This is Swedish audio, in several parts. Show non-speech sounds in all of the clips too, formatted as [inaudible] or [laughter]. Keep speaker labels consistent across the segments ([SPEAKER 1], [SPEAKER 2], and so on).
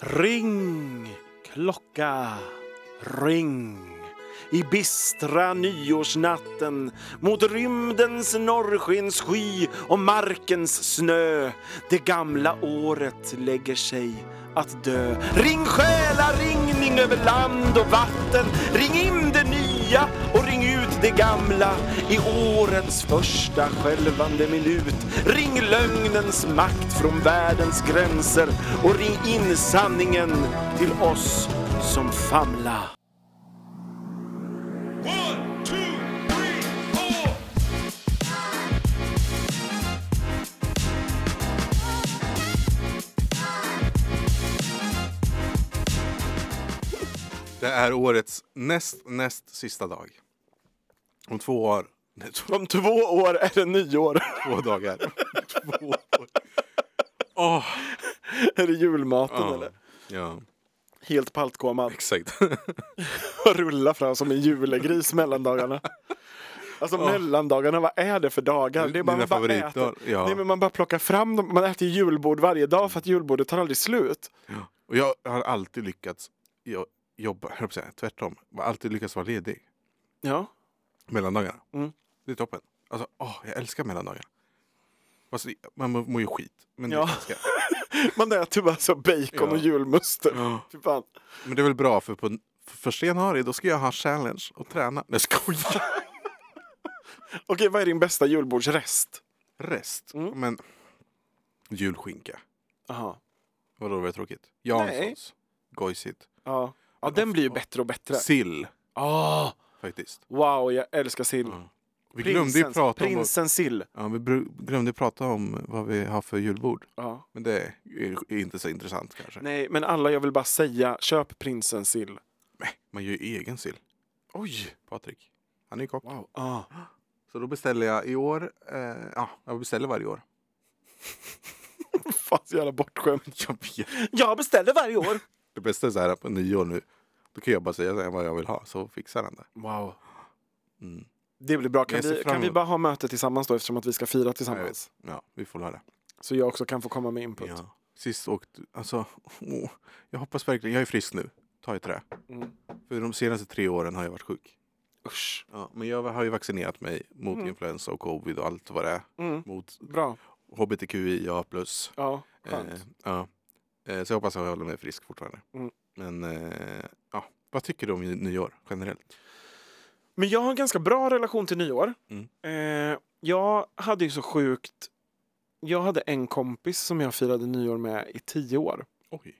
[SPEAKER 1] Ring, klocka, ring. I bistra nyårsnatten mot rymdens norrskenssky och markens snö. Det gamla året lägger sig att dö. Ring själaringning över land och vatten. Ring in det nya och ring ut det gamla i årets första skälvande minut. Ring lögnens makt från världens gränser och ring in sanningen till oss som famla.
[SPEAKER 2] One, two, three, four.
[SPEAKER 3] Det är årets näst, näst sista dag. Om två år. Nej, [laughs] två,
[SPEAKER 1] Om två år är det nyår. [laughs]
[SPEAKER 3] två dagar. två år.
[SPEAKER 1] är det julmaten eller?
[SPEAKER 3] Ja,
[SPEAKER 1] Helt paltkomad.
[SPEAKER 3] exakt.
[SPEAKER 1] Och rulla fram som en julegris mellandagarna. Alltså mellandagarna, vad är det för dagar? Det är bara,
[SPEAKER 3] Dina
[SPEAKER 1] man bara
[SPEAKER 3] favoritdagar,
[SPEAKER 1] äter.
[SPEAKER 3] ja.
[SPEAKER 1] Nej, men man bara plockar fram dem. Man äter julbord varje dag för att julbordet tar aldrig slut.
[SPEAKER 3] Och jag har alltid lyckats jo- jobba, höll på att säga, tvärtom. Jag har Alltid lyckats vara ledig
[SPEAKER 1] Ja.
[SPEAKER 3] mellan dagarna.
[SPEAKER 1] Mm.
[SPEAKER 3] Det är toppen. Alltså, åh, jag älskar mellandagarna. Fast det- man mår mår ju skit. Men,
[SPEAKER 1] Ja.
[SPEAKER 3] det
[SPEAKER 1] [laughs]
[SPEAKER 3] älskar jag.
[SPEAKER 1] Man äter bara så bacon
[SPEAKER 3] Ja.
[SPEAKER 1] och julmuster.
[SPEAKER 3] Ja.
[SPEAKER 1] Fy fan.
[SPEAKER 3] men det är väl bra för på för första januari då ska jag ha challenge och träna. Nej, skojar!
[SPEAKER 1] Okej, vad är din bästa julbordsrest?
[SPEAKER 3] Rest.
[SPEAKER 1] Mm.
[SPEAKER 3] Men julskinka.
[SPEAKER 1] Aha.
[SPEAKER 3] Vadå, var det tråkigt? Janssons. Gojsigt.
[SPEAKER 1] Ja. ja, den blir ju bättre och bättre.
[SPEAKER 3] Sill,
[SPEAKER 1] Ah,
[SPEAKER 3] faktiskt.
[SPEAKER 1] wow, jag älskar sill.
[SPEAKER 3] Mm. Vi glömde ju
[SPEAKER 1] Prinsens-
[SPEAKER 3] prata om, vad,
[SPEAKER 1] Prinsens sill.
[SPEAKER 3] ja, vi bru- glömde prata om vad vi har för julbord.
[SPEAKER 1] Ja.
[SPEAKER 3] Men det är är inte så intressant kanske.
[SPEAKER 1] Nej, men alla jag vill bara säga, köp prinsens sill.
[SPEAKER 3] Man gör ju egen sill. Oj! Patrik. Han är ju kock.
[SPEAKER 1] Ah.
[SPEAKER 3] Så då beställer jag i år, eh, ja, jag beställer varje år.
[SPEAKER 1] [laughs] Fan, så jävla bortskämd.
[SPEAKER 3] [laughs] Jag vet.
[SPEAKER 1] Jag beställer varje år.
[SPEAKER 3] Det bästa är så här på nyår nu. Då kan jag bara säga så här vad jag vill ha så fixar han det.
[SPEAKER 1] Wow.
[SPEAKER 3] Mm.
[SPEAKER 1] Det blir bra. Kan
[SPEAKER 3] Jag ser
[SPEAKER 1] vi,
[SPEAKER 3] fram
[SPEAKER 1] kan vi
[SPEAKER 3] emot-
[SPEAKER 1] bara ha möte tillsammans då eftersom att vi ska fira
[SPEAKER 3] Jag
[SPEAKER 1] tillsammans?
[SPEAKER 3] vet. Ja, vi får höra.
[SPEAKER 1] Så jag också kan få komma med input.
[SPEAKER 3] Ja. Sist åkte, alltså, åh, jag hoppas verkligen, jag är frisk nu. Ta i trä.
[SPEAKER 1] Mm.
[SPEAKER 3] För de senaste tre åren har jag varit sjuk.
[SPEAKER 1] Usch.
[SPEAKER 3] Ja, men jag har ju vaccinerat mig mot influensa och covid och allt vad det är.
[SPEAKER 1] Mm.
[SPEAKER 3] Mot
[SPEAKER 1] Bra.
[SPEAKER 3] hbtqia+. plus.
[SPEAKER 1] Ja, skönt.
[SPEAKER 3] Eh, ja. eh, så jag hoppas att jag håller mig frisk fortfarande.
[SPEAKER 1] Mm.
[SPEAKER 3] Men eh, ja, vad tycker du om nyår generellt?
[SPEAKER 1] Men jag har en ganska bra relation till nyår.
[SPEAKER 3] Mm.
[SPEAKER 1] Eh, jag hade ju så sjukt... Jag hade en kompis som jag firade nyår med i tio år.
[SPEAKER 3] Oj,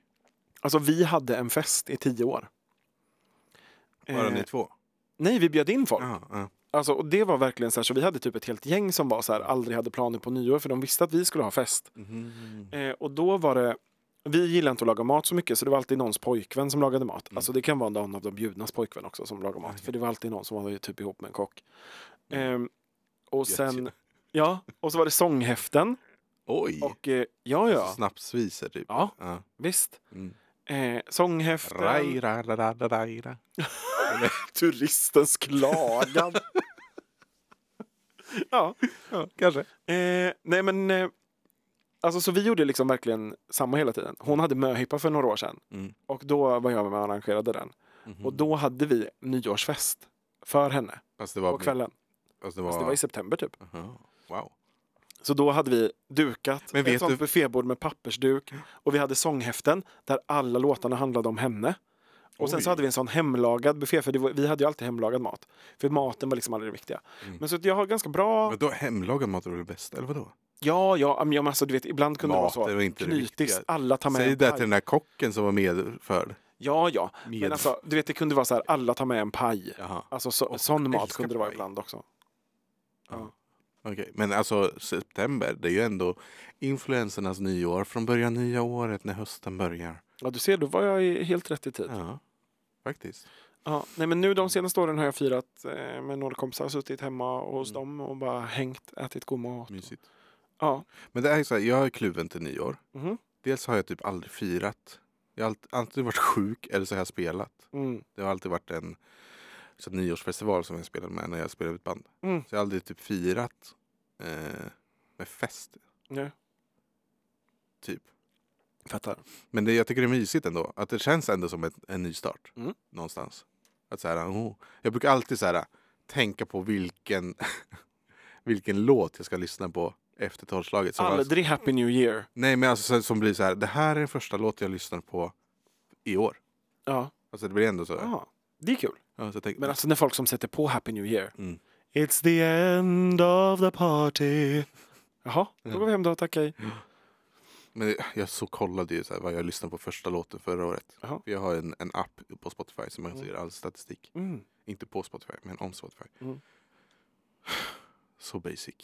[SPEAKER 1] Alltså vi hade en fest i tio år.
[SPEAKER 3] bara
[SPEAKER 1] Eh,
[SPEAKER 3] ni två?
[SPEAKER 1] Nej, vi bjöd in folk.
[SPEAKER 3] Ja, ja.
[SPEAKER 1] Alltså, och det var verkligen så här, så vi hade typ ett helt gäng som var så här, aldrig hade planer på nyår för de visste att vi skulle ha fest.
[SPEAKER 3] Mhm.
[SPEAKER 1] Eh, och då var det, vi gillar inte att laga mat så mycket så det var alltid någons pojkvän som lagade mat.
[SPEAKER 3] Mm.
[SPEAKER 1] Alltså det kan vara någon av de bjudnas pojkvän också som lagar mat. För det var alltid någon som var ju typ ihop med en kock. Ehm, och
[SPEAKER 3] Gött
[SPEAKER 1] sen,
[SPEAKER 3] ju.
[SPEAKER 1] ja, och så var det sånghäften.
[SPEAKER 3] Oj!
[SPEAKER 1] Och eh, ja,
[SPEAKER 3] Alltså
[SPEAKER 1] ja,
[SPEAKER 3] Snapsvisor typ?
[SPEAKER 1] Ja.
[SPEAKER 3] ja.
[SPEAKER 1] visst.
[SPEAKER 3] Mm.
[SPEAKER 1] Eh, sånghäften.
[SPEAKER 3] Raj, ra, ra, ra, ra, ra, ra.
[SPEAKER 1] Turistens
[SPEAKER 3] [laughs]
[SPEAKER 1] klagan. ja.
[SPEAKER 3] Ja, kanske.
[SPEAKER 1] Eh, nej men, eh, alltså så vi gjorde liksom verkligen samma hela tiden. Hon hade möhippa för några år sedan
[SPEAKER 3] Mm.
[SPEAKER 1] och då var jag med och arrangerade den.
[SPEAKER 3] Mhm.
[SPEAKER 1] Och då hade vi nyårsfest för henne
[SPEAKER 3] Fast Alltså, det var...
[SPEAKER 1] på kvällen.
[SPEAKER 3] Fast det var...
[SPEAKER 1] Fast det var i september typ.
[SPEAKER 3] Aha. Wow.
[SPEAKER 1] Så då hade vi dukat
[SPEAKER 3] Men
[SPEAKER 1] ett
[SPEAKER 3] vet
[SPEAKER 1] sånt
[SPEAKER 3] du-
[SPEAKER 1] buffébord med pappersduk och vi hade sånghäften där alla låtarna handlade om henne. Och sen
[SPEAKER 3] Oj.
[SPEAKER 1] så hade vi en sån hemlagad buffé, för det var, vi hade ju alltid hemlagad mat. För maten var liksom aldrig det viktiga. Men så att jag har ganska bra...
[SPEAKER 3] Mm. Men då hemlagad mat var det bästa, eller vadå?
[SPEAKER 1] Ja, ja, men jag- alltså, du vet, ibland kunde
[SPEAKER 3] Mat
[SPEAKER 1] det vara så.
[SPEAKER 3] är väl inte det
[SPEAKER 1] knytis,
[SPEAKER 3] viktiga.
[SPEAKER 1] alla tar med
[SPEAKER 3] Säg
[SPEAKER 1] en
[SPEAKER 3] det
[SPEAKER 1] paj.
[SPEAKER 3] till den där kocken som var medförd.
[SPEAKER 1] Ja, ja. Men
[SPEAKER 3] Med-
[SPEAKER 1] alltså, du vet, det kunde vara så här, alla tar med en paj.
[SPEAKER 3] Jaha.
[SPEAKER 1] Alltså, så,
[SPEAKER 3] Och
[SPEAKER 1] sån mat
[SPEAKER 3] älskar
[SPEAKER 1] kunde det vara
[SPEAKER 3] paj.
[SPEAKER 1] ibland också.
[SPEAKER 3] Okej, Men alltså september, det är ju ändå influensernas nyår från början nya året när hösten börjar.
[SPEAKER 1] Ja, du ser, då var jag i- helt rätt i tid. Ja.
[SPEAKER 3] Ja, faktiskt.
[SPEAKER 1] nej, men nu de senaste åren har jag firat eh, med några kompisar, suttit hemma hos dem och bara hängt, ätit god mat.
[SPEAKER 3] Mysigt.
[SPEAKER 1] Ja.
[SPEAKER 3] Men det är ju så här, jag är kluven till nyår.
[SPEAKER 1] Mhm.
[SPEAKER 3] Dels har jag typ aldrig firat. Jag har allt- alltid varit sjuk eller så har jag spelat.
[SPEAKER 1] Mm.
[SPEAKER 3] Det har alltid varit en så här, nyårsfestival som jag spelade med när jag spelade i ett band.
[SPEAKER 1] Mm.
[SPEAKER 3] Så jag har aldrig typ firat eh, med fest,
[SPEAKER 1] Nej.
[SPEAKER 3] typ.
[SPEAKER 1] Fattar.
[SPEAKER 3] Men det, jag tycker det är mysigt ändå. Att det känns ändå som ett, en ny start.
[SPEAKER 1] Mm.
[SPEAKER 3] Någonstans. Att så här, oh. Jag brukar alltid så här, tänka på vilken, [laughs] vilken låt jag ska lyssna på efter tolvslaget. Som alltså,
[SPEAKER 1] Aldrig Happy New Year.
[SPEAKER 3] nej men alltså så- som blir så här, det här är den första låten jag lyssnar på i år.
[SPEAKER 1] Ja.
[SPEAKER 3] Alltså det blir ändå så.
[SPEAKER 1] ja. Det är kul.
[SPEAKER 3] Ja, så jag tänker,
[SPEAKER 1] Men alltså när folk som sätter på Happy New Year.
[SPEAKER 3] Mm.
[SPEAKER 1] It's the end of the party. Mm. Jaha, då går vi hem då, tack hej.
[SPEAKER 3] Men jag så kollade ju så här, vad jag lyssnade på första låten förra året.
[SPEAKER 1] Jaha.
[SPEAKER 3] För jag har en, en app på Spotify som man ser all statistik.
[SPEAKER 1] Mm.
[SPEAKER 3] Inte på Spotify, men om Spotify.
[SPEAKER 1] Mm.
[SPEAKER 3] [sighs] Så basic.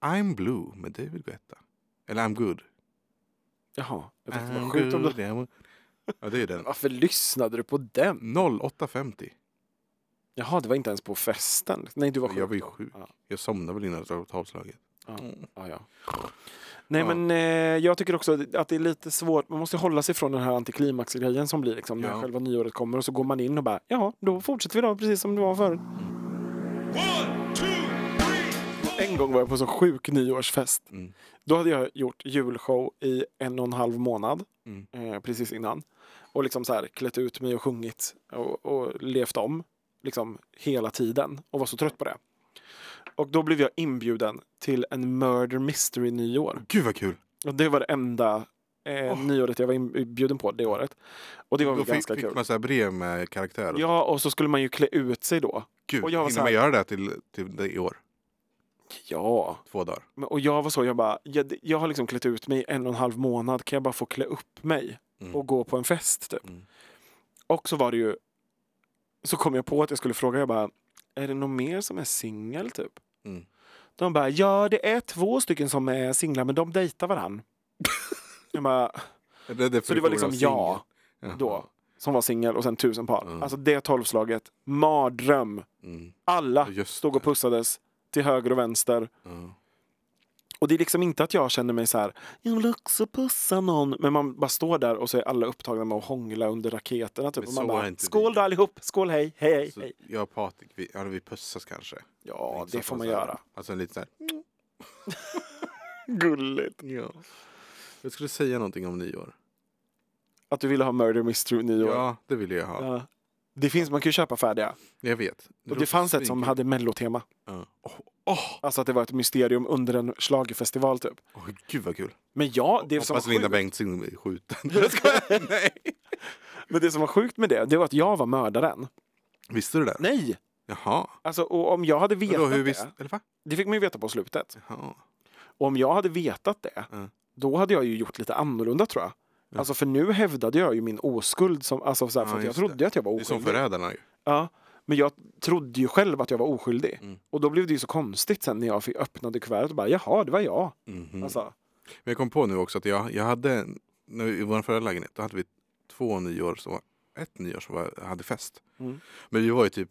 [SPEAKER 3] I'm blue med David Guetta. Eller I'm good.
[SPEAKER 1] Jaha, jag tänkte bara
[SPEAKER 3] I'm
[SPEAKER 1] sjukt om
[SPEAKER 3] good,
[SPEAKER 1] du...
[SPEAKER 3] I'm- Ja, det är ju den.
[SPEAKER 1] Varför lyssnade du på den?
[SPEAKER 3] 08.50.
[SPEAKER 1] Jaha, det var inte ens på festen. Nej, du var sjuk.
[SPEAKER 3] Jag var ju
[SPEAKER 1] då.
[SPEAKER 3] sjuk.
[SPEAKER 1] Ja,
[SPEAKER 3] Jag somnade väl innan tolvslaget.
[SPEAKER 1] ja,
[SPEAKER 3] Mm.
[SPEAKER 1] ja, ja. Nej,
[SPEAKER 3] Ja.
[SPEAKER 1] men eh, jag tycker också att det är lite svårt. Man måste hålla sig från den här antiklimaxgrejen som blir liksom när
[SPEAKER 3] Ja.
[SPEAKER 1] själva nyåret kommer och så går man in och bara, ja, då fortsätter vi då precis som det var förut.
[SPEAKER 2] One, two, three, four.
[SPEAKER 1] En gång var jag på så sjuk nyårsfest.
[SPEAKER 3] Mm.
[SPEAKER 1] Då hade jag gjort julshow i en och en halv månad
[SPEAKER 3] Mm.
[SPEAKER 1] eh, precis innan. Och liksom så här klätt ut mig och sjungit och, och levt om liksom hela tiden och var så trött på det. Och då blev jag inbjuden till en murder mystery nyår.
[SPEAKER 3] Gud vad kul!
[SPEAKER 1] Och det var det enda eh, nyåret jag var inbjuden på det året. Och det var
[SPEAKER 3] Då
[SPEAKER 1] väl
[SPEAKER 3] fick,
[SPEAKER 1] ganska
[SPEAKER 3] fick
[SPEAKER 1] kul.
[SPEAKER 3] man så här brev med karaktär. och-
[SPEAKER 1] Ja, och så skulle man ju klä ut sig då.
[SPEAKER 3] Gud,
[SPEAKER 1] och jag var
[SPEAKER 3] hinner
[SPEAKER 1] så
[SPEAKER 3] man
[SPEAKER 1] här-
[SPEAKER 3] göra det till, till det i år?
[SPEAKER 1] Ja,
[SPEAKER 3] Två dagar?
[SPEAKER 1] Men- Och jag var så, jag bara, jag, jag har liksom klätt ut mig i en och en halv månad, kan jag bara få klä upp mig
[SPEAKER 3] Mm.
[SPEAKER 1] och gå på en fest typ?
[SPEAKER 3] Mm.
[SPEAKER 1] Och så var det ju, så kom jag på att jag skulle fråga, jag bara, är det någon mer som är singel typ?
[SPEAKER 3] Mm.
[SPEAKER 1] De bara, ja det är två stycken som är singlar men de dejtar
[SPEAKER 3] [laughs]
[SPEAKER 1] varann. jag bara,
[SPEAKER 3] Eller
[SPEAKER 1] så det var
[SPEAKER 3] definitionen
[SPEAKER 1] liksom
[SPEAKER 3] av singel?
[SPEAKER 1] jag
[SPEAKER 3] Jaha.
[SPEAKER 1] då, som var singel och sen tusen par.
[SPEAKER 3] Mm.
[SPEAKER 1] Alltså det tolvslaget, mardröm.
[SPEAKER 3] Mm.
[SPEAKER 1] Alla
[SPEAKER 3] Ja, Just
[SPEAKER 1] stod och
[SPEAKER 3] det.
[SPEAKER 1] pussades till höger och vänster.
[SPEAKER 3] Ja.
[SPEAKER 1] Och det är liksom inte att jag känner mig så här, jag vill också pussa någon. Men man bara står där och så är alla upptagna med att hångla under raketerna. Typ.
[SPEAKER 3] Men
[SPEAKER 1] Och man
[SPEAKER 3] så är
[SPEAKER 1] bara,
[SPEAKER 3] inte
[SPEAKER 1] skål
[SPEAKER 3] vi."
[SPEAKER 1] då allihop, skål hej, hej, hej.
[SPEAKER 3] Så
[SPEAKER 1] hej.
[SPEAKER 3] jag och Patrik, vi, ja, vi pussas kanske.
[SPEAKER 1] Ja,
[SPEAKER 3] Inte
[SPEAKER 1] det
[SPEAKER 3] så
[SPEAKER 1] får man
[SPEAKER 3] så här-
[SPEAKER 1] göra.
[SPEAKER 3] Alltså en liten så här...
[SPEAKER 1] Gulligt.
[SPEAKER 3] Ja. Jag skulle säga någonting om nyår.
[SPEAKER 1] Att du ville ha Murder Mystery nyår. Ja.
[SPEAKER 3] Ja, det ville jag ha.
[SPEAKER 1] Det finns, man kan ju köpa färdiga.
[SPEAKER 3] Jag vet.
[SPEAKER 1] Och det fanns ett som hade mellotema.
[SPEAKER 3] Ja. Åh, åh,
[SPEAKER 1] Alltså att det var ett mysterium under en schlagerfestival typ.
[SPEAKER 3] åh, gud vad kul.
[SPEAKER 1] Men ja, det som var
[SPEAKER 3] Hoppas Linda
[SPEAKER 1] sjukt,
[SPEAKER 3] Bengtzing blir skjuten. [laughs] Jag skojar. Nej.
[SPEAKER 1] men det som var sjukt med det, det var att jag var mördaren.
[SPEAKER 3] Visste du det?
[SPEAKER 1] Nej!
[SPEAKER 3] Jaha.
[SPEAKER 1] Alltså, och om jag hade vetat
[SPEAKER 3] Vadå, hur
[SPEAKER 1] det,
[SPEAKER 3] visste... Eller va?
[SPEAKER 1] det fick man ju veta på slutet.
[SPEAKER 3] Jaha.
[SPEAKER 1] Och om jag hade vetat det,
[SPEAKER 3] Mm.
[SPEAKER 1] då hade jag ju gjort lite annorlunda tror jag. Alltså för nu hävdade jag ju min oskuld, som, alltså så här,
[SPEAKER 3] Ja,
[SPEAKER 1] för att jag
[SPEAKER 3] just
[SPEAKER 1] trodde att jag var
[SPEAKER 3] Det är som
[SPEAKER 1] oskyldig.
[SPEAKER 3] Förrädarna ju.
[SPEAKER 1] ja, men jag trodde ju själv att jag var oskyldig.
[SPEAKER 3] Mm.
[SPEAKER 1] Och då blev det ju så konstigt sen när jag fick öppnade kuvertet och bara jaha, det var jag.
[SPEAKER 3] Mhm.
[SPEAKER 1] Alltså,
[SPEAKER 3] Men jag kom på nu också att jag, jag hade, en- nu, i vår förra lägenhet, då hade vi två nyår som var, ett nyår som var, hade fest.
[SPEAKER 1] Mm.
[SPEAKER 3] Men vi var ju typ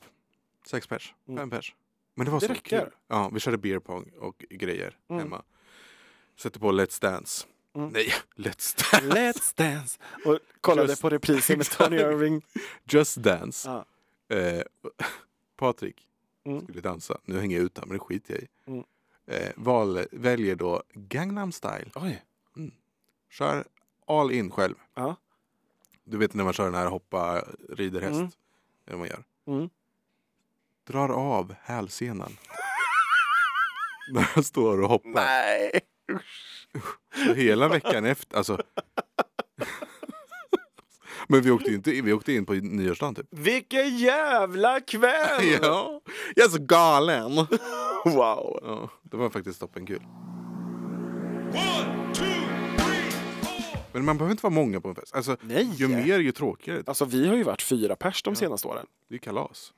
[SPEAKER 3] sex pers,
[SPEAKER 1] Mm.
[SPEAKER 3] fem pers. Men det var
[SPEAKER 1] Det
[SPEAKER 3] så
[SPEAKER 1] räcker.
[SPEAKER 3] kul. Ja, vi körde beer pong och grejer
[SPEAKER 1] Mm.
[SPEAKER 3] hemma. Sätter på Let's Dance.
[SPEAKER 1] Mm.
[SPEAKER 3] Nej, [laughs] Let's Dance!
[SPEAKER 1] let's dance! Och kollade
[SPEAKER 3] Just-
[SPEAKER 1] på reprisen med Tony
[SPEAKER 3] Exakt.
[SPEAKER 1] Irving.
[SPEAKER 3] Just Dance.
[SPEAKER 1] Ja.
[SPEAKER 3] Eh, [laughs] Patrik
[SPEAKER 1] Mm.
[SPEAKER 3] skulle dansa. Nu hänger jag ut honom, men det skiter jag i.
[SPEAKER 1] Mm.
[SPEAKER 3] Eh, val, väljer då Gangnam Style. Mm.
[SPEAKER 1] Oj.
[SPEAKER 3] Kör all in själv.
[SPEAKER 1] Ja.
[SPEAKER 3] Du vet när man kör den här hoppa, rider häst.
[SPEAKER 1] Mm.
[SPEAKER 3] Det är vad man gör.
[SPEAKER 1] Mm.
[SPEAKER 3] Drar av hälsenan. [laughs] när han står och hoppar.
[SPEAKER 1] Nej!
[SPEAKER 3] Så Hela veckan
[SPEAKER 1] [laughs]
[SPEAKER 3] efter. Alltså. [laughs] Men vi åkte, ju inte, vi åkte in på nyårsdagen typ.
[SPEAKER 1] Vilken jävla kväll!
[SPEAKER 3] [laughs] Ja, jag är så galen!
[SPEAKER 1] Wow!
[SPEAKER 3] Ja, det var faktiskt toppenkul.
[SPEAKER 2] One, two, three, four.
[SPEAKER 3] Men man behöver inte vara många på en fest. Alltså,
[SPEAKER 1] Nej.
[SPEAKER 3] Ju mer ju tråkigare.
[SPEAKER 1] Alltså vi har ju varit fyra pers de senaste åren.
[SPEAKER 3] Det är ju kalas.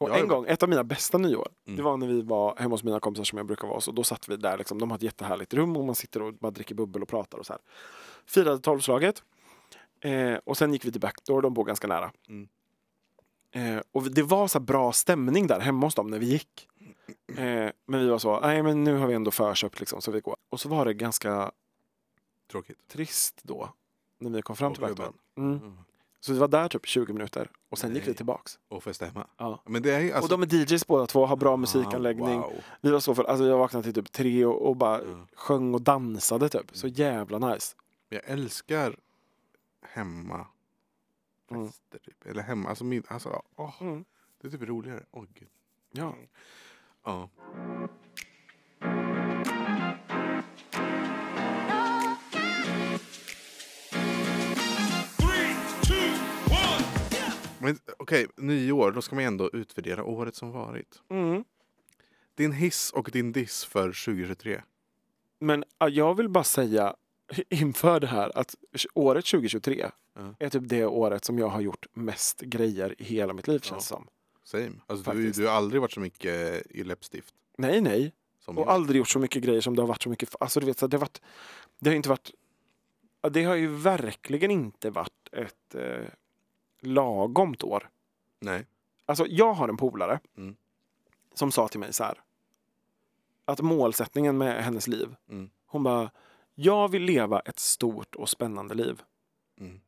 [SPEAKER 1] Och
[SPEAKER 3] Ja,
[SPEAKER 1] en
[SPEAKER 3] det var- Mm.
[SPEAKER 1] gång, ett av mina bästa nyår, det var när vi var hemma hos mina kompisar som jag brukar vara hos. Och då satt vi där, liksom, de har ett jättehärligt rum och man sitter och bara dricker bubbel och pratar och så här. Firade tolvslaget. Eh, och sen gick vi till Backdoor, de bor ganska nära.
[SPEAKER 3] Mm.
[SPEAKER 1] Eh, och vi- det var så här bra stämning där hemma hos dem när vi gick. Eh, men vi var så, nej men nu har vi ändå förköpt liksom, så vi går. Och så var det ganska
[SPEAKER 3] Tråkigt.
[SPEAKER 1] trist då, när vi kom fram till
[SPEAKER 3] Tråkigt
[SPEAKER 1] Backdoor. Mm.
[SPEAKER 3] Mm.
[SPEAKER 1] Så vi var där typ 20 minuter och sen gick vi
[SPEAKER 3] Nej.
[SPEAKER 1] tillbaks.
[SPEAKER 3] Och festa hemma.
[SPEAKER 1] Ja.
[SPEAKER 3] Men det är ju alltså...
[SPEAKER 1] och de är DJs båda två, har bra musikanläggning.
[SPEAKER 3] Ah, wow.
[SPEAKER 1] Vi var så full, alltså jag vaknade till typ tre och, och bara
[SPEAKER 3] Ja. Mm.
[SPEAKER 1] sjöng och dansade typ. Så jävla nice.
[SPEAKER 3] Men jag älskar hemma fester, typ. Eller hemma, alltså min, alltså, åh,
[SPEAKER 1] Mm.
[SPEAKER 3] det är typ roligare. Åh gud.
[SPEAKER 1] Ja.
[SPEAKER 3] Ja.
[SPEAKER 2] Three, two, one.
[SPEAKER 3] Men okej, nyår, då ska man ändå utvärdera året som varit.
[SPEAKER 1] Mm.
[SPEAKER 3] Din hiss och din diss för 2023.
[SPEAKER 1] Men ja, jag vill bara säga inför det här att året 2023
[SPEAKER 3] Ja.
[SPEAKER 1] är typ det året som jag har gjort mest grejer i hela mitt liv känns som.
[SPEAKER 3] Same. Alltså, du,
[SPEAKER 1] Faktiskt.
[SPEAKER 3] du har aldrig varit så mycket i läppstift.
[SPEAKER 1] Nej, nej.
[SPEAKER 3] Som
[SPEAKER 1] Och
[SPEAKER 3] jag.
[SPEAKER 1] aldrig gjort så mycket grejer som det har varit så mycket. Alltså du vet, så det har varit... Det har inte varit... ja, Det har ju verkligen inte varit ett eh, lagomt år.
[SPEAKER 3] Nej.
[SPEAKER 1] Alltså jag har en polare
[SPEAKER 3] Mm.
[SPEAKER 1] som sa till mig så här. Att målsättningen med hennes liv.
[SPEAKER 3] Mm.
[SPEAKER 1] Hon bara, jag vill leva ett stort och spännande liv.
[SPEAKER 3] Mm.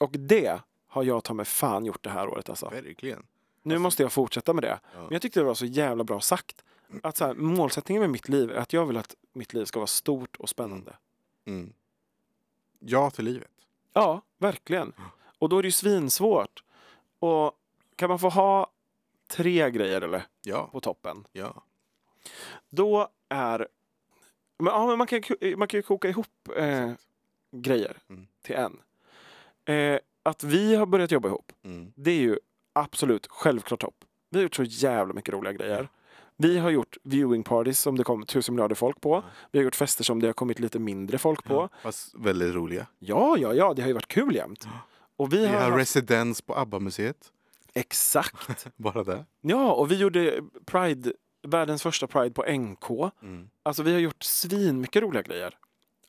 [SPEAKER 1] Och det har jag ta mig fan gjort det här året alltså.
[SPEAKER 3] Verkligen.
[SPEAKER 1] Nu måste jag fortsätta med det.
[SPEAKER 3] Ja.
[SPEAKER 1] Men jag tyckte det var så jävla bra sagt. Att så här, målsättningen med mitt liv är att jag vill att mitt liv ska vara stort och spännande.
[SPEAKER 3] Mm. Ja till livet.
[SPEAKER 1] Ja, verkligen. Och då är det ju svinsvårt. Och kan man få ha tre grejer eller,
[SPEAKER 3] Ja.
[SPEAKER 1] på toppen,
[SPEAKER 3] Ja.
[SPEAKER 1] då är... Men, ja, men man, kan, ju- man kan ju koka ihop eh, grejer
[SPEAKER 3] Mm.
[SPEAKER 1] till en. Eh, att vi har börjat jobba ihop,
[SPEAKER 3] Mm.
[SPEAKER 1] det är ju absolut självklart topp. Vi har gjort så jävla mycket roliga grejer. Vi har gjort viewing parties som det kom tusen miljarder folk på. Vi har gjort fester som det har kommit lite mindre folk på.
[SPEAKER 3] Fast väldigt roliga.
[SPEAKER 1] Ja, ja, ja, det har ju varit kul jämt. Och vi
[SPEAKER 3] Vi
[SPEAKER 1] har...
[SPEAKER 3] har
[SPEAKER 1] haft-
[SPEAKER 3] residens på ABBA-museet.
[SPEAKER 1] Exakt.
[SPEAKER 3] Bara det.
[SPEAKER 1] Ja, och vi gjorde Pride, världens första Pride på NK.
[SPEAKER 3] Mm,
[SPEAKER 1] Alltså vi har gjort svinmycket roliga grejer.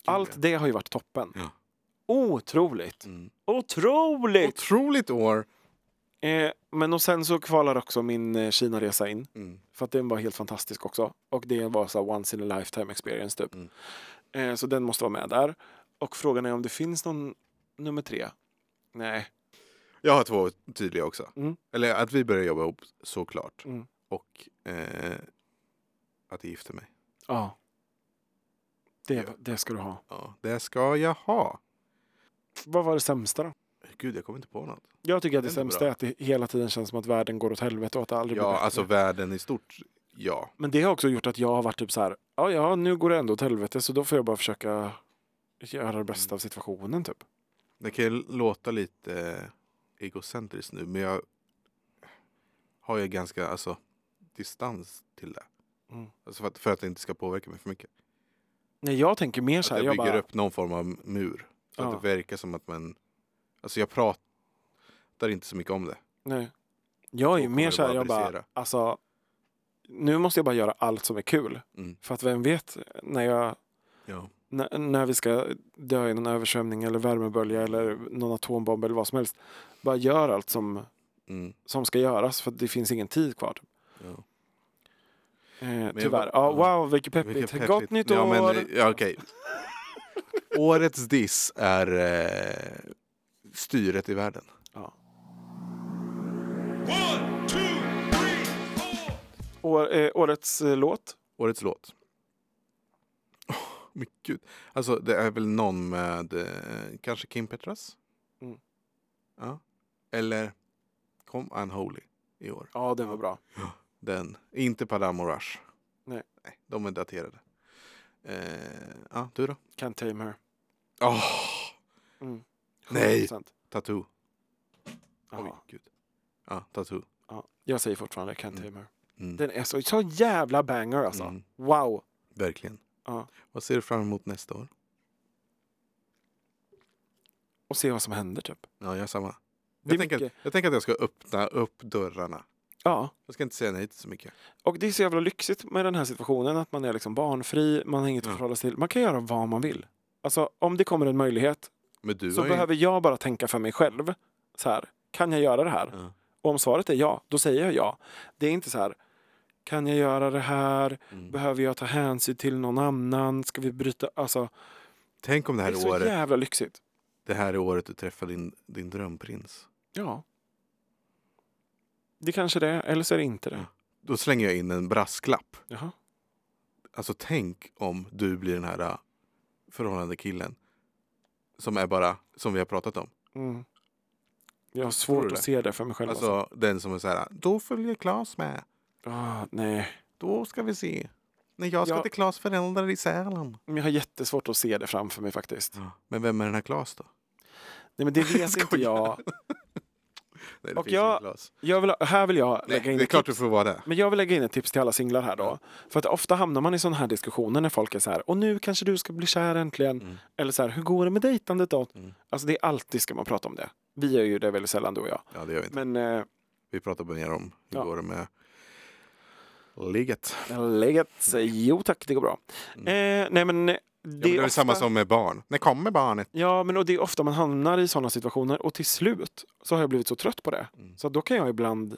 [SPEAKER 1] Allt
[SPEAKER 3] ja.
[SPEAKER 1] det har ju varit toppen.
[SPEAKER 3] Ja.
[SPEAKER 1] Otroligt!
[SPEAKER 3] Mm.
[SPEAKER 1] Otroligt!
[SPEAKER 3] Otroligt år!
[SPEAKER 1] Eh, men och sen så kvalar också min eh, Kina-resa in.
[SPEAKER 3] Mm.
[SPEAKER 1] För att den var helt fantastisk också. Och det var så här once in a lifetime experience typ.
[SPEAKER 3] Mm.
[SPEAKER 1] Eh, så den måste vara med där. Och frågan är om det finns någon nummer tre? Nej.
[SPEAKER 3] Jag har två tydliga också.
[SPEAKER 1] Mm.
[SPEAKER 3] Eller att vi började jobba ihop, såklart.
[SPEAKER 1] Mm.
[SPEAKER 3] Och eh, att jag gifte mig.
[SPEAKER 1] Ja. Det,
[SPEAKER 3] Ja.
[SPEAKER 1] det ska du ha.
[SPEAKER 3] Ja, det ska jag ha.
[SPEAKER 1] Vad var det sämsta då?
[SPEAKER 3] Gud, jag kommer inte på något.
[SPEAKER 1] Jag tycker att det
[SPEAKER 3] Det är ändå
[SPEAKER 1] sämsta
[SPEAKER 3] bra.
[SPEAKER 1] är att det hela tiden känns som att världen går åt helvete och att det aldrig blir
[SPEAKER 3] Ja,
[SPEAKER 1] bättre.
[SPEAKER 3] alltså världen i stort. Ja.
[SPEAKER 1] Men det har också gjort att jag har varit typ så här, ja, ja, nu går det ändå åt helvete så då får jag bara försöka göra det
[SPEAKER 3] Mm.
[SPEAKER 1] bästa av situationen typ.
[SPEAKER 3] Det kan ju låta lite egocentriskt nu, men jag har ju ganska alltså, distans till det.
[SPEAKER 1] Mm.
[SPEAKER 3] Alltså för, att, för att det inte ska påverka mig för mycket.
[SPEAKER 1] Nej, jag tänker mer
[SPEAKER 3] Att
[SPEAKER 1] så här,
[SPEAKER 3] jag
[SPEAKER 1] jag,
[SPEAKER 3] bygger
[SPEAKER 1] bara,
[SPEAKER 3] upp någon form av mur. Så
[SPEAKER 1] Ja.
[SPEAKER 3] att det verkar som att man... Alltså jag pratar inte så mycket om det.
[SPEAKER 1] nej. Jag är ju
[SPEAKER 3] Då
[SPEAKER 1] mer
[SPEAKER 3] kommer
[SPEAKER 1] så här,
[SPEAKER 3] det
[SPEAKER 1] jag
[SPEAKER 3] bara
[SPEAKER 1] bara,
[SPEAKER 3] brisera.
[SPEAKER 1] alltså, nu måste jag bara göra allt som är kul.
[SPEAKER 3] Mm.
[SPEAKER 1] För att vem vet när jag,
[SPEAKER 3] Ja.
[SPEAKER 1] när, när vi ska dö i någon översvämning eller värmebölja eller någon atombomb eller vad som helst. Bara gör allt som,
[SPEAKER 3] Mm.
[SPEAKER 1] som ska göras för att det finns ingen tid kvar.
[SPEAKER 3] Ja.
[SPEAKER 1] Eh,
[SPEAKER 3] jag
[SPEAKER 1] tyvärr.
[SPEAKER 3] var-
[SPEAKER 1] Ja,
[SPEAKER 3] ja.
[SPEAKER 1] wow, vilket peppigt.
[SPEAKER 3] Vilket
[SPEAKER 1] Gott
[SPEAKER 3] peppigt-
[SPEAKER 1] nytt
[SPEAKER 3] ja,
[SPEAKER 1] år!
[SPEAKER 3] Men, eh,
[SPEAKER 1] [laughs]
[SPEAKER 3] ja, okej. Årets diss är eh, styret i världen.
[SPEAKER 1] Ja.
[SPEAKER 2] One, two, three, four.
[SPEAKER 1] År, eh, årets eh, låt.
[SPEAKER 3] Årets låt. Åh, men gud. Alltså det är väl någon med eh, kanske Kim Petras?
[SPEAKER 1] Mm.
[SPEAKER 3] Ja. Eller kom Unholy i år.
[SPEAKER 1] Ja, den var bra.
[SPEAKER 3] Den. Inte Padam och Rush.
[SPEAKER 1] Nej.
[SPEAKER 3] De är daterade. Eh, ja, du då?
[SPEAKER 1] Can't tame her.
[SPEAKER 3] Åh,
[SPEAKER 1] Mm.
[SPEAKER 3] Nej.
[SPEAKER 1] 100%.
[SPEAKER 3] Tattoo. Oj,
[SPEAKER 1] Ja,
[SPEAKER 3] gud. Ja, Tattoo.
[SPEAKER 1] ja. Jag säger fortfarande Can't tame her.
[SPEAKER 3] Mm.
[SPEAKER 1] Den är så, så jävla banger alltså.
[SPEAKER 3] Mm.
[SPEAKER 1] Wow!
[SPEAKER 3] Verkligen.
[SPEAKER 1] Ja.
[SPEAKER 3] Vad ser du fram emot nästa år?
[SPEAKER 1] Och se vad som händer typ.
[SPEAKER 3] Ja, jag samma.
[SPEAKER 1] Det är
[SPEAKER 3] Jag tänker, att,
[SPEAKER 1] mycket.
[SPEAKER 3] jag tänker att jag ska öppna upp dörrarna.
[SPEAKER 1] Ja.
[SPEAKER 3] Jag ska inte säga nej till så mycket.
[SPEAKER 1] Och det är så jävla lyxigt med den här situationen att man är liksom barnfri, man har inget att
[SPEAKER 3] Ja.
[SPEAKER 1] förhålla sig till. Man kan göra vad man vill. Alltså om det kommer en möjlighet
[SPEAKER 3] Men du
[SPEAKER 1] så
[SPEAKER 3] har ju-
[SPEAKER 1] behöver jag bara tänka för mig själv. Så här, kan jag göra det här?
[SPEAKER 3] Ja. Mm.
[SPEAKER 1] Och om svaret är ja, då säger jag ja. Det är inte så här, kan jag göra det här? Behöver jag ta hänsyn till någon annan? Ska vi bryta? Alltså,
[SPEAKER 3] Tänk om det
[SPEAKER 1] det är
[SPEAKER 3] här är
[SPEAKER 1] så
[SPEAKER 3] året,
[SPEAKER 1] jävla lyxigt.
[SPEAKER 3] det här är året du träffar din, din drömprins.
[SPEAKER 1] Ja. Det kanske det är, eller så är det inte det.
[SPEAKER 3] Ja. Då slänger jag in en brasklapp.
[SPEAKER 1] Jaha.
[SPEAKER 3] Alltså tänk om du blir den här äh, förhållande killen Som är bara, som vi har pratat om.
[SPEAKER 1] Mm. Jag har
[SPEAKER 3] du
[SPEAKER 1] svårt
[SPEAKER 3] det?
[SPEAKER 1] att se det för mig själv. Alltså.
[SPEAKER 3] Alltså den som är så här, då följer Claes med.
[SPEAKER 1] Ah, nej.
[SPEAKER 3] Då ska vi se. När jag ska
[SPEAKER 1] Ja.
[SPEAKER 3] till Claes föräldrar i Sälen.
[SPEAKER 1] Men Jag har jättesvårt att se det framför mig faktiskt.
[SPEAKER 3] Men vem är den här Claes då?
[SPEAKER 1] Nej, men
[SPEAKER 3] [laughs]
[SPEAKER 1] det vet inte jag.
[SPEAKER 3] Nej, det
[SPEAKER 1] Och
[SPEAKER 3] finns
[SPEAKER 1] jag-
[SPEAKER 3] ingen Claes.
[SPEAKER 1] jag vill, ha- här vill jag
[SPEAKER 3] Nej,
[SPEAKER 1] lägga in
[SPEAKER 3] det är
[SPEAKER 1] ett
[SPEAKER 3] klart du
[SPEAKER 1] tips.
[SPEAKER 3] får vara det.
[SPEAKER 1] Men jag vill lägga in ett tips till alla singlar här då. För att ofta hamnar man i sådana här diskussioner när folk är så här, och nu kanske du ska bli kär äntligen.
[SPEAKER 3] Mm.
[SPEAKER 1] Eller så här, hur går det med dejtandet då? Alltså det är alltid ska man prata om det. Vi gör ju det väldigt sällan du och jag.
[SPEAKER 3] Ja, det gör vi inte.
[SPEAKER 1] Men eh,
[SPEAKER 3] Vi pratar bara mer om hur
[SPEAKER 1] Ja.
[SPEAKER 3] går det med ligget.
[SPEAKER 1] läget, jo tack, det går bra. Eh, nej men det,
[SPEAKER 3] Det är, Mm. ja, men det är
[SPEAKER 1] ofta,
[SPEAKER 3] väl samma som med barn. När kommer barnet?
[SPEAKER 1] Ja, men och det är ofta man hamnar i sådana situationer och till slut så har jag blivit så trött på det.
[SPEAKER 3] Mm.
[SPEAKER 1] Så att då kan jag ibland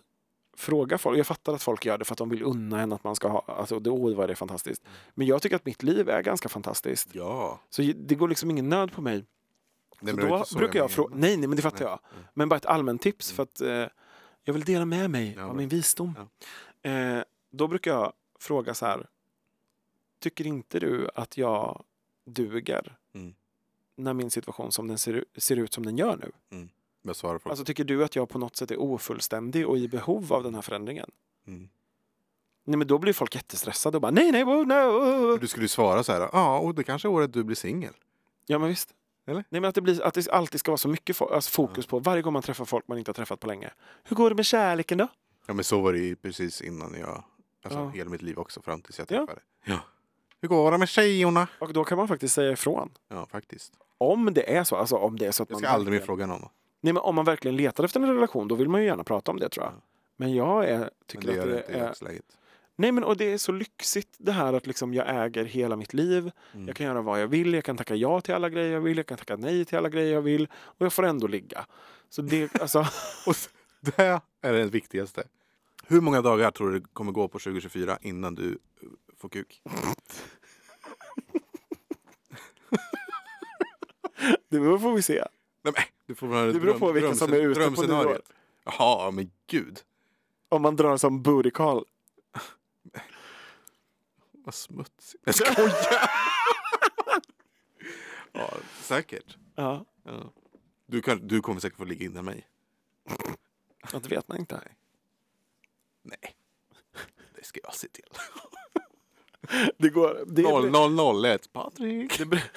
[SPEAKER 1] fråga folk. Jag fattar att folk gör det för att de vill unna en att man ska ha, alltså det, åh, vad det är fantastiskt.
[SPEAKER 3] Mm.
[SPEAKER 1] Men jag tycker att mitt liv är ganska fantastiskt.
[SPEAKER 3] Ja.
[SPEAKER 1] Så det går liksom ingen nöd på mig.
[SPEAKER 3] Det
[SPEAKER 1] så
[SPEAKER 3] beror
[SPEAKER 1] Alltså, då
[SPEAKER 3] inte så
[SPEAKER 1] brukar jag
[SPEAKER 3] menar. Mm.
[SPEAKER 1] fråga, nej, nej men det fattar jag. Men bara ett allmänt tips för att eh, jag vill dela med mig
[SPEAKER 3] Ja,
[SPEAKER 1] av
[SPEAKER 3] bra.
[SPEAKER 1] min visdom. Eh, då brukar jag fråga så här, tycker inte du att jag duger
[SPEAKER 3] Mm.
[SPEAKER 1] när min situation som den ser, u- ser ut som den gör nu?
[SPEAKER 3] Vad svarar folk?
[SPEAKER 1] Alltså tycker du att jag på något sätt är ofullständig och i behov av den här förändringen?
[SPEAKER 3] Mm.
[SPEAKER 1] Nej men då blir folk jättestressade och bara nej nej, oh, no.
[SPEAKER 3] Du skulle ju svara så här. Ja, och det kanske är året du blir singel.
[SPEAKER 1] Ja men visst.
[SPEAKER 3] Eller?
[SPEAKER 1] Nej men att det, blir, att det alltid ska vara så mycket fo- alltså fokus på varje gång man träffar folk man inte har träffat på länge. Hur går det med kärleken då?
[SPEAKER 3] Ja, men så var det ju precis innan jag... Alltså
[SPEAKER 1] Ja.
[SPEAKER 3] hela mitt liv också fram tills jag
[SPEAKER 1] Ja.
[SPEAKER 3] träffade. Ja. Hur går det med tjejerna?
[SPEAKER 1] Och då kan man faktiskt säga ifrån.
[SPEAKER 3] Ja, faktiskt.
[SPEAKER 1] Om det är så, alltså om det är så att
[SPEAKER 3] Jag
[SPEAKER 1] man...
[SPEAKER 3] ska aldrig mer
[SPEAKER 1] verkligen-
[SPEAKER 3] fråga någon.
[SPEAKER 1] Nej men om man verkligen letar efter en relation då vill man ju gärna prata om det tror jag. Men jag är,
[SPEAKER 3] Men
[SPEAKER 1] tycker
[SPEAKER 3] det gör det
[SPEAKER 1] att
[SPEAKER 3] inte
[SPEAKER 1] det
[SPEAKER 3] i
[SPEAKER 1] är...
[SPEAKER 3] dagsläget.
[SPEAKER 1] Nej men och det är så lyxigt det här att liksom jag äger hela mitt liv.
[SPEAKER 3] Mm.
[SPEAKER 1] Jag kan göra vad jag vill, jag kan tacka ja till alla grejer jag vill, jag kan tacka nej till alla grejer jag vill och jag får ändå ligga. Så
[SPEAKER 3] [laughs]
[SPEAKER 1] det, alltså,
[SPEAKER 3] Och s- det är det viktigaste. Hur många dagar tror du det kommer gå på 2024 innan du eh, får kuk?
[SPEAKER 1] det får vi se.
[SPEAKER 3] Nej, men, du får väl ha
[SPEAKER 1] Det beror på
[SPEAKER 3] dröm-
[SPEAKER 1] vilka som är
[SPEAKER 3] drömsce-
[SPEAKER 1] ute på
[SPEAKER 3] drömscenariot.
[SPEAKER 1] nyår.
[SPEAKER 3] Jaha, men gud.
[SPEAKER 1] Om man drar som booty call.
[SPEAKER 3] Vad smutsigt.
[SPEAKER 1] [laughs]
[SPEAKER 3] Jag skojar! ja, säkert.
[SPEAKER 1] Ja,
[SPEAKER 3] Ja. Du, kan, du kommer säkert få ligga innan mig.
[SPEAKER 1] ja, det vet man inte.
[SPEAKER 3] Nej. Det ska jag se till.
[SPEAKER 1] Det, går, det,
[SPEAKER 3] 0001 Patrik!
[SPEAKER 1] det, bru-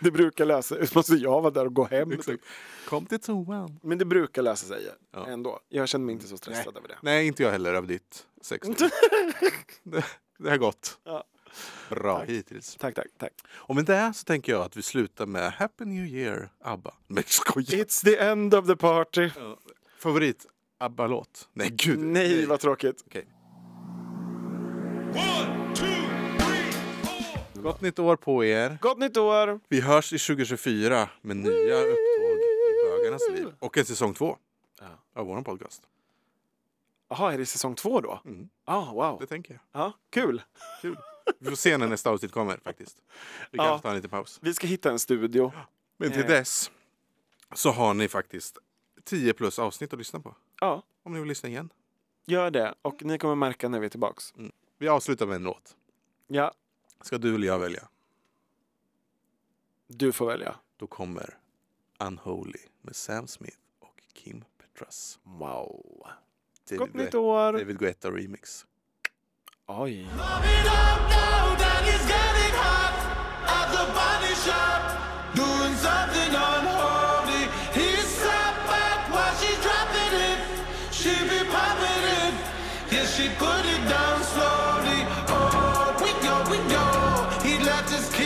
[SPEAKER 1] det brukar lösa sig. Måste jag vara där och gå hem?
[SPEAKER 3] Exakt. Kom till toan.
[SPEAKER 1] Men det brukar lösa sig
[SPEAKER 3] Ja.
[SPEAKER 1] ändå. Jag känner mig inte så stressad över det.
[SPEAKER 3] Nej, inte jag heller av ditt
[SPEAKER 1] [laughs]
[SPEAKER 3] sex. det, det har gått.
[SPEAKER 1] Ja.
[SPEAKER 3] Bra hittills.
[SPEAKER 1] Tack, tack, tack.
[SPEAKER 3] Och med det så tänker jag att vi slutar med Happy New Year, ABBA. Men skoja!
[SPEAKER 1] It's the end of the party.
[SPEAKER 3] Favorit ABBA-låt? Nej, gud.
[SPEAKER 1] Nej, vad tråkigt.
[SPEAKER 3] Okej.
[SPEAKER 2] One, two, three, four.
[SPEAKER 3] Gott nytt år på er.
[SPEAKER 1] Gott nytt år!
[SPEAKER 3] Vi hörs i 2024 med nya upptåg i bögarnas liv. Och en säsong två av vår podcast.
[SPEAKER 1] Jaha, är det säsong två då?
[SPEAKER 3] Mm.
[SPEAKER 1] Ah, wow.
[SPEAKER 3] Det tänker jag.
[SPEAKER 1] Ja, kul.
[SPEAKER 3] Kul. Vi får se när nästa avsnitt kommer faktiskt. Vi kanske
[SPEAKER 1] Ja.
[SPEAKER 3] tar en liten paus.
[SPEAKER 1] Vi ska hitta en studio.
[SPEAKER 3] Men till
[SPEAKER 1] Eh.
[SPEAKER 3] dess så har ni faktiskt 10 plus avsnitt att lyssna på.
[SPEAKER 1] Ja,
[SPEAKER 3] Om ni vill lyssna igen.
[SPEAKER 1] gör det. Och ni kommer märka när vi är tillbaks.
[SPEAKER 3] Vi avslutar med en låt.
[SPEAKER 1] Ja,
[SPEAKER 3] Ska du eller jag välja?
[SPEAKER 1] du får välja.
[SPEAKER 3] Då kommer Unholy med Sam Smith och Kim Petras.
[SPEAKER 1] Wow.
[SPEAKER 3] David
[SPEAKER 1] Gott nytt
[SPEAKER 3] Guetta-
[SPEAKER 1] år!
[SPEAKER 3] David Guetta remix.
[SPEAKER 1] Oj.
[SPEAKER 4] Love it up now that it's getting hot at the body shop, doing something unholy. He's sat back while she's dropping it. She be popping it. Yeah, she put it down slowly. Oh, we go, we go. He left his key